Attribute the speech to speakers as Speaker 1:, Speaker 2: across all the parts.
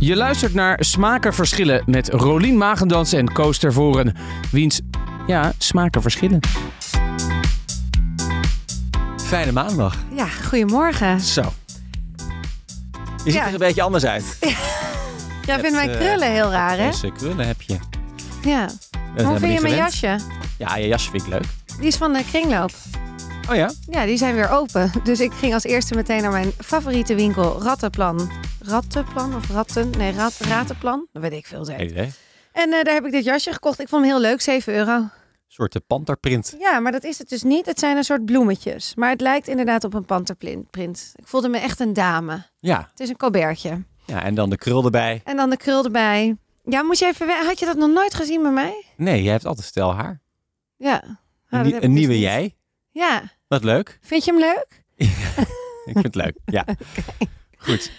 Speaker 1: Je luistert naar Smaken Verschillen met Rolien Magendans en Koos Tervoren. Wiens, ja, smaken verschillen.
Speaker 2: Fijne maandag.
Speaker 3: Ja, goedemorgen.
Speaker 2: Zo. Je ziet
Speaker 3: Ja.
Speaker 2: er een beetje anders uit.
Speaker 3: Jij vindt mijn
Speaker 2: eh,
Speaker 3: krullen heel raar, hè?
Speaker 2: Deze krullen heb je.
Speaker 3: Ja. Hoe vind je mijn jasje?
Speaker 2: Ja, je jasje vind ik leuk.
Speaker 3: Die is van de kringloop.
Speaker 2: Oh ja?
Speaker 3: Ja, die zijn weer open. Dus ik ging als eerste meteen naar mijn favoriete winkel, Rattenplan. Rattenplan of Ratten? Nee, rat, Ratenplan. Dat weet ik veel
Speaker 2: Geen
Speaker 3: zeker.
Speaker 2: idee.
Speaker 3: En eh, daar heb ik dit jasje gekocht. Ik vond hem heel leuk, 7 euro.
Speaker 2: soorten panterprint.
Speaker 3: Ja, maar dat is het dus niet. Het zijn een soort bloemetjes. Maar het lijkt inderdaad op een panterprint. Ik voelde me echt een dame.
Speaker 2: Ja.
Speaker 3: Het is een colbertje.
Speaker 2: ja, en dan de krul erbij.
Speaker 3: En dan de krul erbij. Ja, moest je even... we- Had je dat nog nooit gezien bij mij?
Speaker 2: Nee, jij hebt altijd stel haar.
Speaker 3: Ja. Ah, dat
Speaker 2: een nie-
Speaker 3: heb ik
Speaker 2: een
Speaker 3: dus
Speaker 2: nieuwe
Speaker 3: niet.
Speaker 2: jij.
Speaker 3: Ja.
Speaker 2: Wat leuk.
Speaker 3: Vind je hem leuk?
Speaker 2: Ik vind het leuk. Ja. Goed.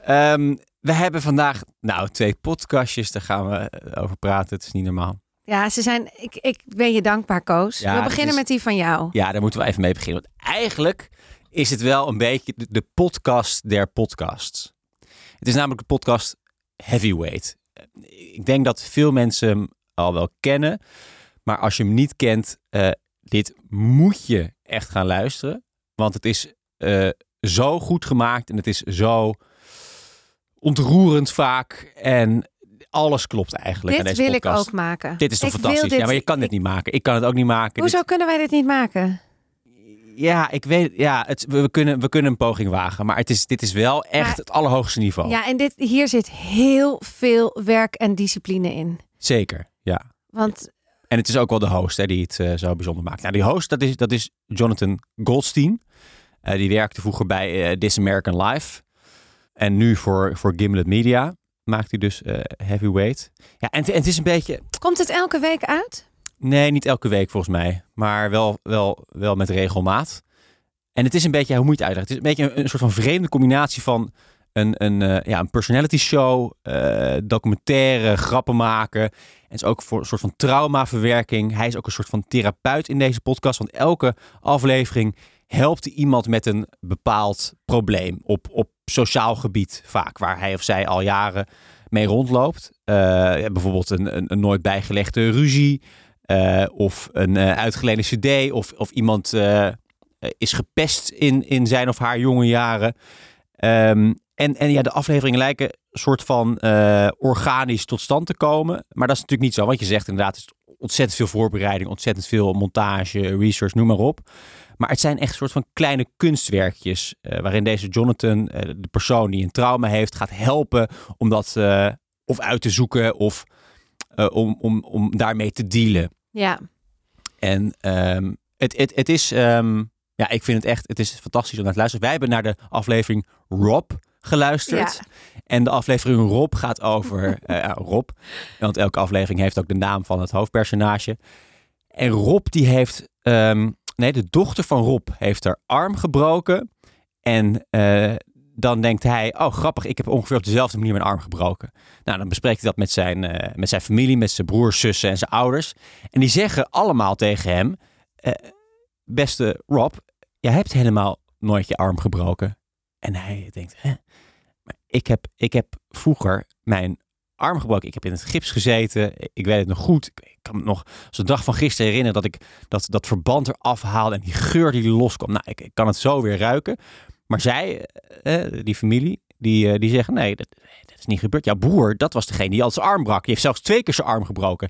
Speaker 2: Ehm, we hebben vandaag nou, twee podcastjes. Daar gaan we eh, over praten. Het is niet normaal.
Speaker 3: Ja, ze zijn. Ik, ik ben je dankbaar, Koos.
Speaker 2: Ja,
Speaker 3: we
Speaker 2: dat
Speaker 3: beginnen
Speaker 2: is-
Speaker 3: met die van jou.
Speaker 2: Ja, daar moeten we even mee beginnen. Want eigenlijk is het wel een beetje de- de podcast der podcasts. Het is namelijk de podcast Heavyweight. Ik denk dat veel mensen hem al wel kennen. Maar als je hem niet kent, eh, dit moet je echt gaan luisteren. Want het is eh, zo goed gemaakt en het is zo ontroerend vaak. En alles klopt eigenlijk aan
Speaker 3: dit
Speaker 2: deze
Speaker 3: wil
Speaker 2: podcast.
Speaker 3: ik ook maken.
Speaker 2: Dit is toch
Speaker 3: Ik wil
Speaker 2: fantastisch?
Speaker 3: dit-
Speaker 2: Ja, maar je kan dit niet maken. Ik kan het ook niet maken. Dit-
Speaker 3: Hoezo kunnen wij dit niet maken?
Speaker 2: ja, ik weet. Ja, het, we, we kunnen, we kunnen een poging wagen. Maar het is, dit is wel echt
Speaker 3: Maar-
Speaker 2: het allerhoogste niveau.
Speaker 3: Ja, en dit, hier zit heel veel werk en discipline in.
Speaker 2: Zeker. Ja.
Speaker 3: Want
Speaker 2: En het is ook wel de host hè, die het eh, zo bijzonder maakt. Nou, die host, dat is, dat is Jonathan Goldstein. Eh, die werkte vroeger bij eh, This American Life. En nu voor, voor Gimlet Media maakt hij dus eh, heavyweight. Ja, en, het- en het is een beetje.
Speaker 3: komt het elke week uit?
Speaker 2: Nee, niet elke week volgens mij. Maar wel, wel, wel met regelmaat. En het is een beetje, ja, hoe moet je het uitleggen? Het is een beetje een, een soort van vreemde combinatie van een, een, eh, ja, een personality show, eh, documentaire, grappen maken. En het is ook voor een soort van traumaverwerking. Hij is ook een soort van therapeut in deze podcast. Want elke aflevering helpt hij iemand met een bepaald probleem op, op sociaal gebied vaak. Waar hij of zij al jaren mee rondloopt. Eh, bijvoorbeeld een, een, een nooit bijgelegde ruzie. Eh, of een eh, uitgeleende cd. Of, of iemand eh, eh, is gepest in, in zijn of haar jonge jaren. Ehm, en, en ja, de afleveringen lijken een soort van eh, organisch tot stand te komen. Maar dat is natuurlijk niet zo. Want je zegt inderdaad, het is ontzettend veel voorbereiding. Ontzettend veel montage, research, noem maar op. Maar het zijn echt soort van kleine kunstwerkjes. eh, waarin deze Jonathan, eh, de persoon die een trauma heeft, gaat helpen om dat eh, of uit te zoeken of eh, om, om, om daarmee te dealen.
Speaker 3: Ja.
Speaker 2: En ehm, het, het, het is, ehm, ja, ik vind het echt, het is fantastisch om naar te luisteren. Wij hebben naar de aflevering Rob geluisterd. En de aflevering Rob gaat over eh, ja, Rob. Want elke aflevering heeft ook de naam van het hoofdpersonage. En Rob die heeft, ehm, nee, de dochter van Rob heeft haar arm gebroken. En eh, dan denkt hij, oh grappig, ik heb ongeveer op dezelfde manier mijn arm gebroken. Nou, dan bespreekt hij dat met zijn, eh, met zijn familie, met zijn broers, zussen en zijn ouders. En die zeggen allemaal tegen hem, eh, beste Rob, jij hebt helemaal nooit je arm gebroken. En hij denkt, hè, maar ik heb, ik heb vroeger mijn arm gebroken. Ik heb in het gips gezeten. Ik weet het nog goed. Ik- Ik kan me nog als de dag van gisteren herinneren dat ik dat, dat verband eraf haalde en die geur die loskwam. Nou, ik, ik kan het zo weer ruiken. Maar zij, eh, die familie, die, eh, die zeggen nee, dat, dat is niet gebeurd. Jouw broer, dat was degene die al zijn arm brak. Die heeft zelfs twee keer zijn arm gebroken.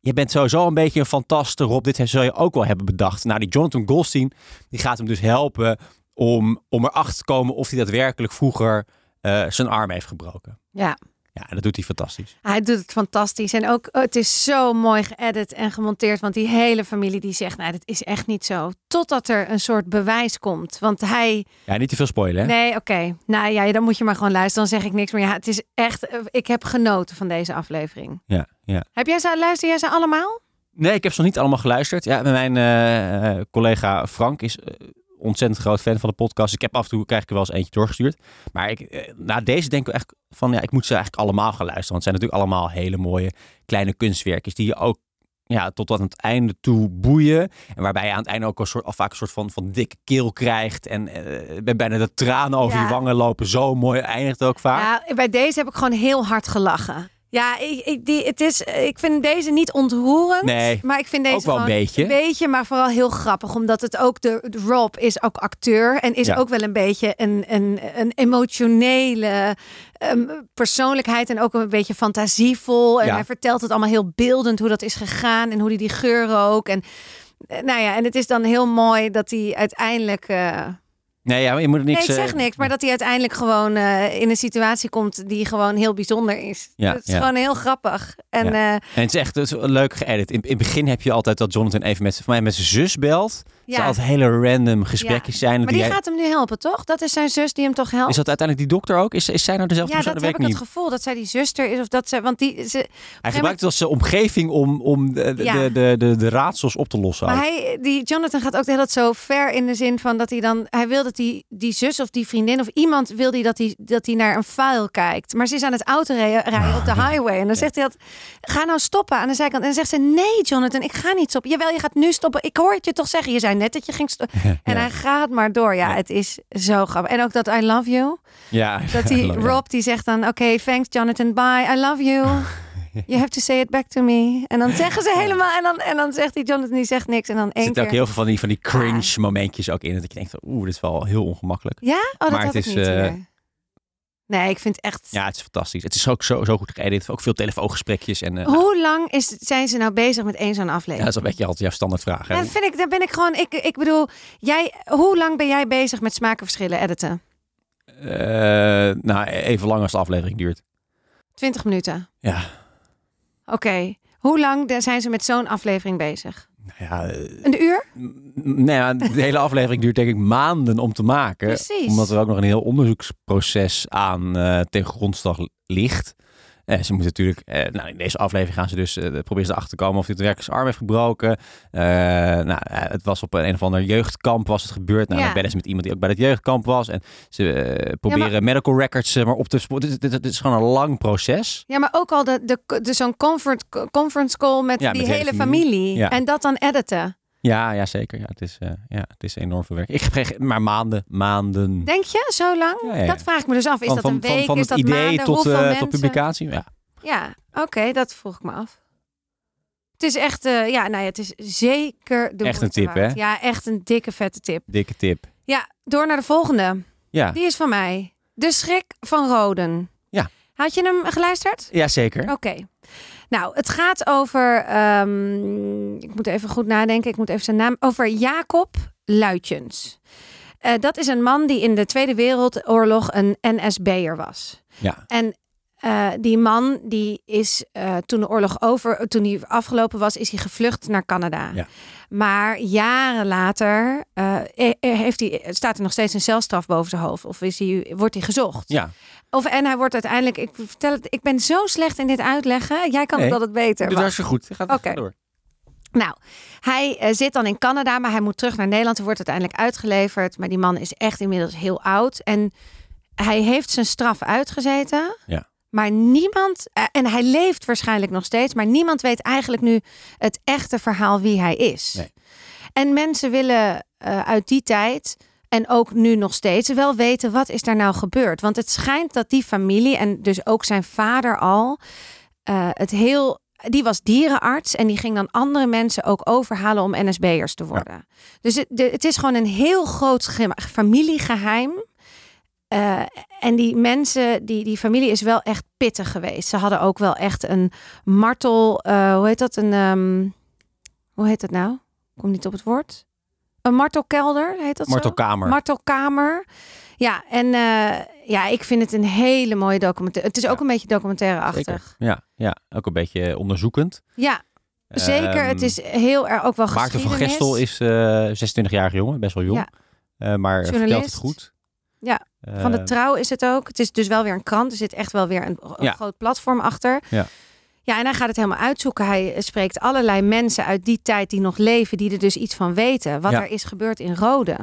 Speaker 2: Je bent sowieso een beetje een fantaste Rob. Dit zou je ook wel hebben bedacht. Nou, die Jonathan Goldstein, die gaat hem dus helpen om, om erachter te komen of hij daadwerkelijk vroeger eh, zijn arm heeft gebroken.
Speaker 3: Ja.
Speaker 2: Ja, en dat doet hij fantastisch.
Speaker 3: Hij doet het fantastisch. En ook, oh, het is zo mooi geëdit en gemonteerd. Want die hele familie die zegt, nou, dat is echt niet zo. Totdat er een soort bewijs komt. Want hij
Speaker 2: Ja, niet te veel spoilen, hè?
Speaker 3: Nee, oké. Nou ja, dan moet je maar gewoon luisteren. Dan zeg ik niks meer. Ja, het is echt... eh, Ik heb genoten van deze aflevering.
Speaker 2: Ja, ja.
Speaker 3: Heb jij ze, luister jij ze allemaal?
Speaker 2: Nee, ik heb ze nog niet allemaal geluisterd. Ja, mijn eh, eh, collega Frank is eh, ontzettend groot fan van de podcast. Ik heb af en toe krijg ik er wel eens eentje doorgestuurd. Maar ik, eh, na deze denk ik echt van ja, ik moet ze eigenlijk allemaal gaan luisteren. Want het zijn natuurlijk allemaal hele mooie kleine kunstwerkjes die je ook ja, tot aan het einde toe boeien. En waarbij je aan het einde ook een soort, al vaak een soort van, van dikke keel krijgt. En eh, bijna de tranen over
Speaker 3: Ja.
Speaker 2: je wangen lopen. Zo mooi eindigt het ook vaak.
Speaker 3: Ja, Nou, bij deze heb ik gewoon heel hard gelachen. Ja, ik, ik- die, het is, ik vind deze niet ontroerend.
Speaker 2: Nee,
Speaker 3: maar ik vind deze
Speaker 2: ook wel een
Speaker 3: gewoon
Speaker 2: beetje.
Speaker 3: Een beetje, maar vooral heel grappig. Omdat het ook de Rob is ook acteur. En is
Speaker 2: Ja.
Speaker 3: ook wel een beetje een, een, een emotionele ehm, persoonlijkheid. En ook een beetje fantasievol. En
Speaker 2: Ja.
Speaker 3: hij vertelt het allemaal heel beeldend hoe dat is gegaan. En hoe hij die geur rook. En, eh, nou ja, en het is dan heel mooi dat hij uiteindelijk. eh,
Speaker 2: Nee, ja, maar je moet er niks...
Speaker 3: nee, ik
Speaker 2: eh,
Speaker 3: zeg niks, maar dat hij uiteindelijk gewoon eh, in een situatie komt die gewoon heel bijzonder is.
Speaker 2: Ja,
Speaker 3: dat is
Speaker 2: ja.
Speaker 3: gewoon heel grappig. En eh, ja,
Speaker 2: En het is echt het is leuk geëdit. In, in het begin heb je altijd dat Jonathan even met, van mij met zijn zus belt. Het
Speaker 3: ja.
Speaker 2: zijn altijd hele random gesprekjes zijn.
Speaker 3: maar die
Speaker 2: jij-
Speaker 3: gaat hem nu helpen, toch? Dat is zijn zus die hem toch helpt.
Speaker 2: Is dat uiteindelijk die dokter ook? Is, is zij nou dezelfde
Speaker 3: ja,
Speaker 2: persoon?
Speaker 3: dat
Speaker 2: weet
Speaker 3: heb
Speaker 2: ik
Speaker 3: ik het
Speaker 2: niet.
Speaker 3: gevoel dat zij die zuster is of dat ze, want die ze,
Speaker 2: Hij gebruikt het als zijn omgeving om, om de, de-
Speaker 3: Ja.
Speaker 2: de, de, de, de raadsels op te lossen.
Speaker 3: maar
Speaker 2: ook.
Speaker 3: hij, die Jonathan gaat ook de hele tijd zo ver in de zin van dat hij dan, hij wil dat die, die zus of die vriendin of iemand wil die dat hij dat die naar een file kijkt, maar ze is aan het auto rijden rijden op de highway en dan zegt hij dat, ga nou stoppen aan de zijkant en dan zegt ze nee Jonathan, ik ga niet stoppen. Jawel, je gaat nu stoppen. Ik hoor het je toch zeggen. Je zei net dat je ging stoppen. En hij gaat maar door. Ja, het is zo grappig. En ook dat I love you.
Speaker 2: ja,
Speaker 3: Dat die
Speaker 2: Ja.
Speaker 3: Rob die zegt dan: Oké, thanks Jonathan, bye, I love you. You have to say it back to me. En dan zeggen ze helemaal, en dan, en dan zegt die Jonathan, die zegt niks. En dan
Speaker 2: Er
Speaker 3: één
Speaker 2: zitten
Speaker 3: keer.
Speaker 2: ook heel veel van die, van die cringe momentjes ook in. Dat ik denk, van, oeh, dit is wel heel ongemakkelijk.
Speaker 3: Ja? Oh, dat
Speaker 2: Maar
Speaker 3: had
Speaker 2: het
Speaker 3: ik
Speaker 2: is,
Speaker 3: niet
Speaker 2: eh,
Speaker 3: hier. Nee, ik vind het echt...
Speaker 2: Ja, het is fantastisch. Het is ook zo, zo goed geëdit. Ook veel telefoongesprekjes. En, eh,
Speaker 3: Hoe lang is, zijn ze nou bezig met één zo'n
Speaker 2: ja, dat
Speaker 3: aflevering?
Speaker 2: is een beetje altijd jouw standaardvraag. hè?
Speaker 3: Ja, dat vind ik, daar ben ik gewoon... Ik, ik bedoel, jij, hoe lang ben jij bezig met smakenverschillen editen?
Speaker 2: Eh, nou, even lang als de aflevering duurt.
Speaker 3: 20 minuten.
Speaker 2: Ja,
Speaker 3: Oké. Hoe lang de- zijn ze met zo'n aflevering bezig?
Speaker 2: nou ja eh,
Speaker 3: Een uur?
Speaker 2: Mm, Nou ja, de hele aflevering duurt denk ik maanden om te maken.
Speaker 3: Precies.
Speaker 2: Omdat er ook nog een heel onderzoeksproces aan eh, ten grondslag ligt. Eh, ze moeten natuurlijk, eh, nou, in deze aflevering gaan ze dus eh, proberen ze erachter te komen of dit werk zijn arm heeft gebroken. Eh, nou, eh, het was op een, een of ander jeugdkamp was het gebeurd. Nou,
Speaker 3: Ja.
Speaker 2: dan bellen ze met iemand die ook bij dat jeugdkamp was. En ze eh, proberen medical records eh, maar op te sporen. Dit, dit- dit is gewoon een lang proces.
Speaker 3: Ja, maar ook al de, de, de, zo'n comfort, conference call met
Speaker 2: Ja,
Speaker 3: die
Speaker 2: met de
Speaker 3: hele,
Speaker 2: hele
Speaker 3: familie.
Speaker 2: familie. Ja.
Speaker 3: En dat dan editen.
Speaker 2: Ja, ja zeker. Ja, het, is, eh, ja, het is enorm veel werk. Ik heb geen- maar maanden, maanden.
Speaker 3: Denk je, zo lang?
Speaker 2: Ja, ja, ja.
Speaker 3: Dat vraag ik me dus af. Is
Speaker 2: van,
Speaker 3: dat
Speaker 2: van,
Speaker 3: een week?
Speaker 2: van, van
Speaker 3: is
Speaker 2: het
Speaker 3: dat
Speaker 2: idee
Speaker 3: maanden?
Speaker 2: tot,
Speaker 3: Hoeveel
Speaker 2: eh,
Speaker 3: mensen?
Speaker 2: tot publicatie. Ja.
Speaker 3: Ja, oké, dat vroeg ik me af. Het is echt, eh, ja, nou ja, het is zeker de
Speaker 2: Echt een
Speaker 3: moeite
Speaker 2: tip,
Speaker 3: waard.
Speaker 2: hè?
Speaker 3: Ja, echt een dikke vette tip.
Speaker 2: Dikke tip.
Speaker 3: Ja, door naar de volgende.
Speaker 2: Ja,
Speaker 3: Die is van mij. De schrik van Roden.
Speaker 2: Ja.
Speaker 3: Had je hem geluisterd?
Speaker 2: ja zeker.
Speaker 3: Oké. Nou, het gaat over. ehm, ik moet even goed nadenken. Ik moet even zijn naam. Over Jacob Luitjens. Eh, dat is een man die in de Tweede Wereldoorlog een NSB'er was.
Speaker 2: Ja.
Speaker 3: En eh, die man die is eh, toen de oorlog over, toen die afgelopen was, is hij gevlucht naar Canada.
Speaker 2: Ja.
Speaker 3: Maar jaren later eh, eh, heeft hij, staat er nog steeds een celstraf boven zijn hoofd. Of is hij, wordt hij gezocht?
Speaker 2: ja.
Speaker 3: Of en hij wordt uiteindelijk. Ik vertel het. Ik ben zo slecht in dit uitleggen. Jij kan
Speaker 2: Nee,
Speaker 3: het altijd beter.
Speaker 2: Doe
Speaker 3: maar-
Speaker 2: Dus dat je goed. Gaat
Speaker 3: Oké.
Speaker 2: door.
Speaker 3: nou, hij eh, zit dan in Canada, maar hij moet terug naar Nederland. Hij wordt uiteindelijk uitgeleverd. Maar die man is echt inmiddels heel oud. En hij heeft zijn straf uitgezeten.
Speaker 2: Ja.
Speaker 3: Maar niemand, eh, en hij leeft waarschijnlijk nog steeds, maar niemand weet eigenlijk nu het echte verhaal wie hij is.
Speaker 2: Nee.
Speaker 3: En mensen willen eh, uit die tijd en ook nu nog steeds wel weten wat is daar nou gebeurd. Want het schijnt dat die familie en dus ook zijn vader al eh, het heel. Die was dierenarts en die ging dan andere mensen ook overhalen om NSB'ers te worden. Dus het, de- het is gewoon een heel groot ge- familiegeheim. Eh, en die mensen, die, die familie is wel echt pittig geweest. Ze hadden ook wel echt een martel, eh, hoe heet dat? Een, ehm, hoe heet dat nou? Ik kom niet op het woord. Een martelkelder, heet dat zo?
Speaker 2: Martel Kamer.
Speaker 3: Martelkamer. Ja, en eh, ja, ik vind het een hele mooie documentaire. Het is ook
Speaker 2: Ja.
Speaker 3: een beetje documentaire-achtig.
Speaker 2: Ja, ja, ook een beetje onderzoekend.
Speaker 3: Ja, zeker.
Speaker 2: Ehm,
Speaker 3: het is heel erg ook wel
Speaker 2: Maarten van
Speaker 3: geschiedenis.
Speaker 2: Gestel is eh 26-jarige jongen, best wel jong.
Speaker 3: Ja.
Speaker 2: Eh, maar vertelt het
Speaker 3: Journalist.
Speaker 2: goed.
Speaker 3: Ja, Van de
Speaker 2: Eh,
Speaker 3: trouw is het ook. Het is dus wel weer een krant. Er zit echt wel weer een, een
Speaker 2: Ja.
Speaker 3: groot platform achter.
Speaker 2: Ja.
Speaker 3: Ja, en hij gaat het helemaal uitzoeken. Hij eh, spreekt allerlei mensen uit die tijd die nog leven, die er dus iets van weten. Wat
Speaker 2: Ja.
Speaker 3: er is gebeurd in Rode.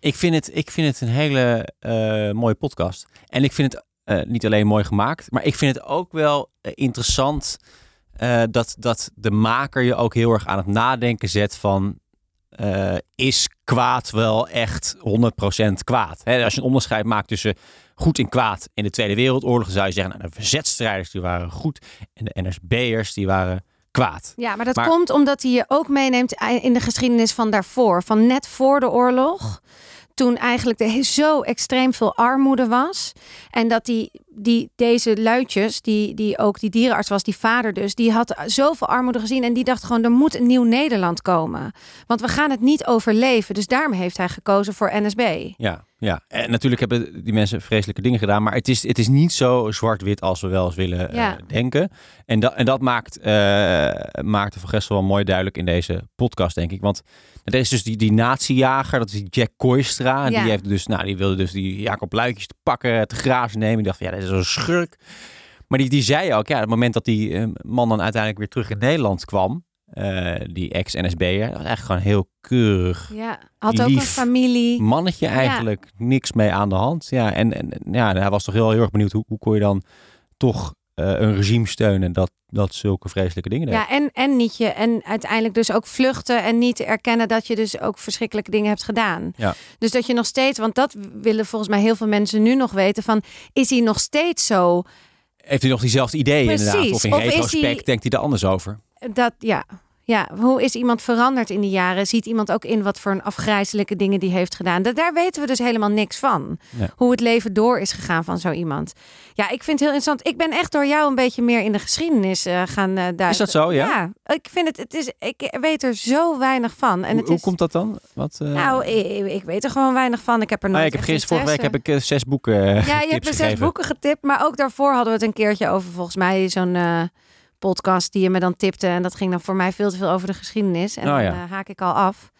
Speaker 2: Ik vind het, ik vind het een hele eh, mooie podcast. En ik vind het eh, niet alleen mooi gemaakt, maar ik vind het ook wel eh, interessant eh, dat, dat de maker je ook heel erg aan het nadenken zet van... eh, is kwaad wel echt 100% kwaad? Hè, als je een onderscheid maakt tussen goed en kwaad in de Tweede Wereldoorlog... dan zou je zeggen, nou, de verzetstrijders die waren goed en de NSB'ers die waren kwaad.
Speaker 3: Ja, maar dat
Speaker 2: Maar-
Speaker 3: komt omdat hij je ook meeneemt in de geschiedenis van daarvoor. Van net voor de oorlog. Toen eigenlijk de, zo extreem veel armoede was. En dat die, die, deze luidjes, die, die ook die dierenarts was, die vader dus, die had zoveel armoede gezien. En die dacht gewoon, er moet een nieuw Nederland komen. Want we gaan het niet overleven. Dus daarom heeft hij gekozen voor NSB.
Speaker 2: Ja, ja. En natuurlijk hebben die mensen vreselijke dingen gedaan, maar het is, het is niet zo zwart-wit als we wel eens willen eh,
Speaker 3: Ja.
Speaker 2: denken. En, dat en dat maakt, eh maakte Van Gessel wel mooi duidelijk in deze podcast, denk ik. Want er is dus die, die natiejager, dat is die Jack Koistra. En
Speaker 3: Ja.
Speaker 2: Die, heeft dus, nou, die wilde dus die Jacob Luikjes te pakken, te grazen nemen. Ik dacht van, ja, dat is een schurk. Maar die, die zei ook, ja, het moment dat die eh, man dan uiteindelijk weer terug in Nederland kwam, eh, die ex-NSB'er, dat was eigenlijk gewoon een heel keurig
Speaker 3: Ja, had ook
Speaker 2: Lief.
Speaker 3: een familie.
Speaker 2: mannetje eigenlijk niks mee aan de hand. Ja, en, en en ja, hij was toch heel, heel erg benieuwd hoe, hoe kon je dan toch eh, een regime steunen dat, dat zulke vreselijke dingen deed.
Speaker 3: Ja, en, en niet je. En uiteindelijk dus ook vluchten en niet erkennen dat je dus ook verschrikkelijke dingen hebt gedaan.
Speaker 2: Ja.
Speaker 3: Dus dat je nog steeds, want dat willen volgens mij heel veel mensen nu nog weten: van is hij nog steeds zo?
Speaker 2: Heeft hij nog diezelfde ideeën
Speaker 3: Precies.
Speaker 2: inderdaad? Of in
Speaker 3: Of is
Speaker 2: retrospect
Speaker 3: hij-
Speaker 2: denkt hij er anders over?
Speaker 3: Dat ja. Ja, hoe is iemand veranderd in die jaren? Ziet iemand ook in wat voor een afgrijzelijke dingen die heeft gedaan? Dat, daar weten we dus helemaal niks van.
Speaker 2: Nee.
Speaker 3: Hoe het leven door is gegaan van zo iemand. Ja, ik vind het heel interessant. Ik ben echt door jou een beetje meer in de geschiedenis eh, gaan eh, duiken.
Speaker 2: Is dat zo, ja?
Speaker 3: ik vind het, het is, ik weet er zo weinig van. En
Speaker 2: hoe,
Speaker 3: het
Speaker 2: hoe
Speaker 3: is...
Speaker 2: komt dat dan? Wat, eh,
Speaker 3: Nou, i- i- ik, weet er gewoon weinig van. Ik heb er
Speaker 2: ah,
Speaker 3: nooit.
Speaker 2: ik heb
Speaker 3: echt
Speaker 2: gisteren, vorige week heb
Speaker 3: interesse.
Speaker 2: ik eh, zes boeken eh,
Speaker 3: Ja, je hebt
Speaker 2: tips
Speaker 3: me zes
Speaker 2: gegeven.
Speaker 3: boeken getipt, maar ook daarvoor hadden we het een keertje over volgens mij zo'n eh, podcast die je me dan tipte en dat ging dan voor mij veel te veel over de geschiedenis en
Speaker 2: Oh,
Speaker 3: dan
Speaker 2: ja.
Speaker 3: eh, haak ik al af.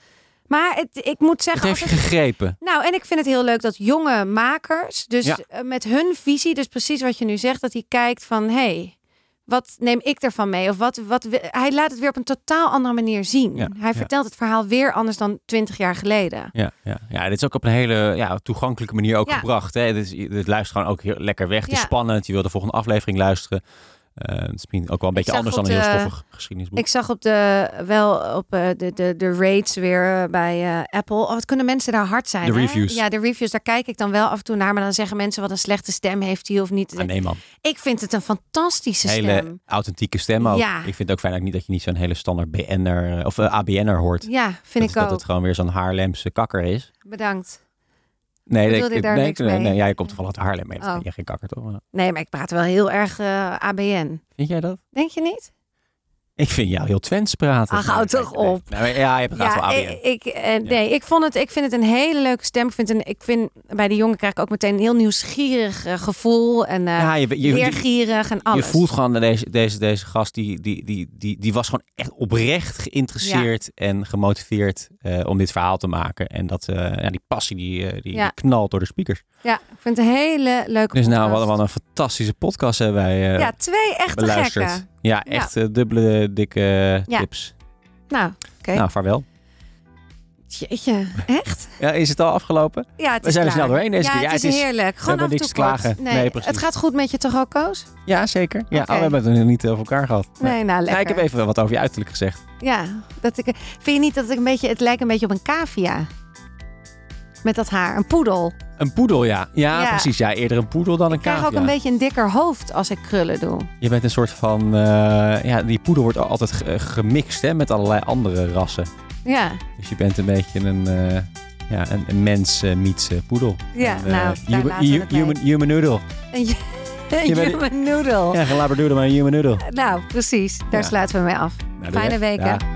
Speaker 3: Maar het, ik moet
Speaker 2: Het
Speaker 3: zeggen,
Speaker 2: heeft
Speaker 3: als
Speaker 2: je
Speaker 3: ik-
Speaker 2: gegrepen.
Speaker 3: nou, en ik vind het heel leuk dat jonge makers, dus
Speaker 2: Ja.
Speaker 3: eh, met hun visie, dus precies wat je nu zegt, dat hij kijkt van, hé, hey, wat neem ik ervan mee? Of wat, wat, wi- hij laat het weer op een totaal andere manier zien.
Speaker 2: Ja,
Speaker 3: Hij
Speaker 2: ja.
Speaker 3: vertelt het verhaal weer anders dan twintig jaar geleden.
Speaker 2: Ja, ja. ja, dit is ook op een hele ja, toegankelijke manier ook
Speaker 3: Ja.
Speaker 2: gebracht. Hè? Het, is, het luistert gewoon ook heel lekker weg. Het is
Speaker 3: Ja. spannend.
Speaker 2: spannend. Je wil de volgende aflevering luisteren. Eh, het is misschien ook wel een beetje
Speaker 3: zag
Speaker 2: anders
Speaker 3: op
Speaker 2: dan een heel
Speaker 3: de-
Speaker 2: stoffig geschiedenisboek.
Speaker 3: Ik zag op de, wel op eh, de, de, de rates weer eh, bij eh, Apple. Oh, wat kunnen mensen daar hard zijn?
Speaker 2: De
Speaker 3: hè?
Speaker 2: reviews.
Speaker 3: Ja, de reviews. Daar kijk ik dan wel af en toe naar. Maar dan zeggen mensen wat een slechte stem heeft hij of niet.
Speaker 2: Ah, nee man,
Speaker 3: Ik vind het een fantastische
Speaker 2: hele
Speaker 3: stem.
Speaker 2: authentieke stem ook.
Speaker 3: Ja.
Speaker 2: Ik vind het ook fijn dat, ik niet, dat je niet zo'n hele standaard BN'er of eh, ABN'er hoort.
Speaker 3: Ja, vind
Speaker 2: dat,
Speaker 3: ik
Speaker 2: dat
Speaker 3: ook.
Speaker 2: het gewoon weer zo'n Haarlemse kakker is.
Speaker 3: Bedankt.
Speaker 2: Nee,
Speaker 3: Bedoelde je daar
Speaker 2: nee,
Speaker 3: niks
Speaker 2: nee,
Speaker 3: mee?
Speaker 2: nee, jij komt toevallig uit Haarlem. mee.
Speaker 3: Oh.
Speaker 2: ben je geen kakker toch? Maar
Speaker 3: Nee, maar ik praat wel heel erg eh, ABN.
Speaker 2: Vind jij dat?
Speaker 3: Denk je niet?
Speaker 2: Ik vind jou heel Twents praten.
Speaker 3: Ach, Ah, hou
Speaker 2: Nee,
Speaker 3: toch
Speaker 2: nee, nee.
Speaker 3: op.
Speaker 2: Nee, maar ja, je hebt praat wel ABN.
Speaker 3: ik, ik, eh, nee, ik, vond het, ik vind het een hele leuke stem. Ik vind, een, ik vind bij de jongen krijg ik ook meteen een heel nieuwsgierig eh, gevoel. En eh
Speaker 2: Ja, je, je, je-
Speaker 3: leergierig en alles.
Speaker 2: Je voelt gewoon dat deze, deze, deze gast, die, die, die, die, die was gewoon echt oprecht geïnteresseerd en gemotiveerd eh, om dit verhaal te maken. En dat, eh, ja, die passie die, eh, die
Speaker 3: Ja.
Speaker 2: knalt door de speakers.
Speaker 3: Ja, ik vind het een hele leuke
Speaker 2: Dus nou,
Speaker 3: podcast.
Speaker 2: wat, een- wat een fantastische podcast hebben wij eh,
Speaker 3: Ja, twee echte
Speaker 2: beluisterd.
Speaker 3: gekken.
Speaker 2: Ja, echt eh, dubbele dikke eh,
Speaker 3: Ja.
Speaker 2: tips.
Speaker 3: Nou, oké.
Speaker 2: Nou, vaarwel.
Speaker 3: Jeetje, echt?
Speaker 2: Ja, is het al afgelopen?
Speaker 3: Ja, het
Speaker 2: We
Speaker 3: is
Speaker 2: zijn er
Speaker 3: klaar.
Speaker 2: snel doorheen deze
Speaker 3: ja,
Speaker 2: keer.
Speaker 3: Het, is, heerlijk. Gewoon
Speaker 2: hebben
Speaker 3: af en
Speaker 2: niks
Speaker 3: toe
Speaker 2: te
Speaker 3: kort.
Speaker 2: klagen.
Speaker 3: Nee,
Speaker 2: Nee, precies.
Speaker 3: het gaat goed met je toch ook, Koos?
Speaker 2: Ja, zeker. Ja,
Speaker 3: Oké.
Speaker 2: oh, we hebben het nog niet eh, over elkaar gehad. Nee.
Speaker 3: Nee, nou
Speaker 2: Nou, ik
Speaker 3: lekker.
Speaker 2: heb even wat over je uiterlijk gezegd.
Speaker 3: Ja, dat ik... Vind je niet dat ik een beetje... Het lijkt een beetje op een cavia. Met dat haar. Een poedel.
Speaker 2: Een poedel, ja. Ja,
Speaker 3: Ja.
Speaker 2: precies. Ja, eerder een poedel dan een
Speaker 3: Ik krijg ook
Speaker 2: cavia.
Speaker 3: een beetje een dikker hoofd als ik krullen doe.
Speaker 2: Je bent een soort van... eh, ja, die poedel wordt al- altijd ge- eh, gemixt hè, met allerlei andere rassen.
Speaker 3: Ja,
Speaker 2: Dus je bent een beetje een, eh, ja, een, een mens eh, meets eh, poedel.
Speaker 3: Ja,
Speaker 2: Een, eh,
Speaker 3: nou, daar
Speaker 2: human,
Speaker 3: laten we het mee.
Speaker 2: human, human noodle.
Speaker 3: een, ju- een
Speaker 2: Je bent-
Speaker 3: human noodle.
Speaker 2: Ja, geen labradoodle, maar een human noodle.
Speaker 3: Nou, precies. Daar
Speaker 2: Ja.
Speaker 3: sluiten we mee af.
Speaker 2: Nou, doe
Speaker 3: Fijne
Speaker 2: jij.
Speaker 3: weken.
Speaker 2: Ja.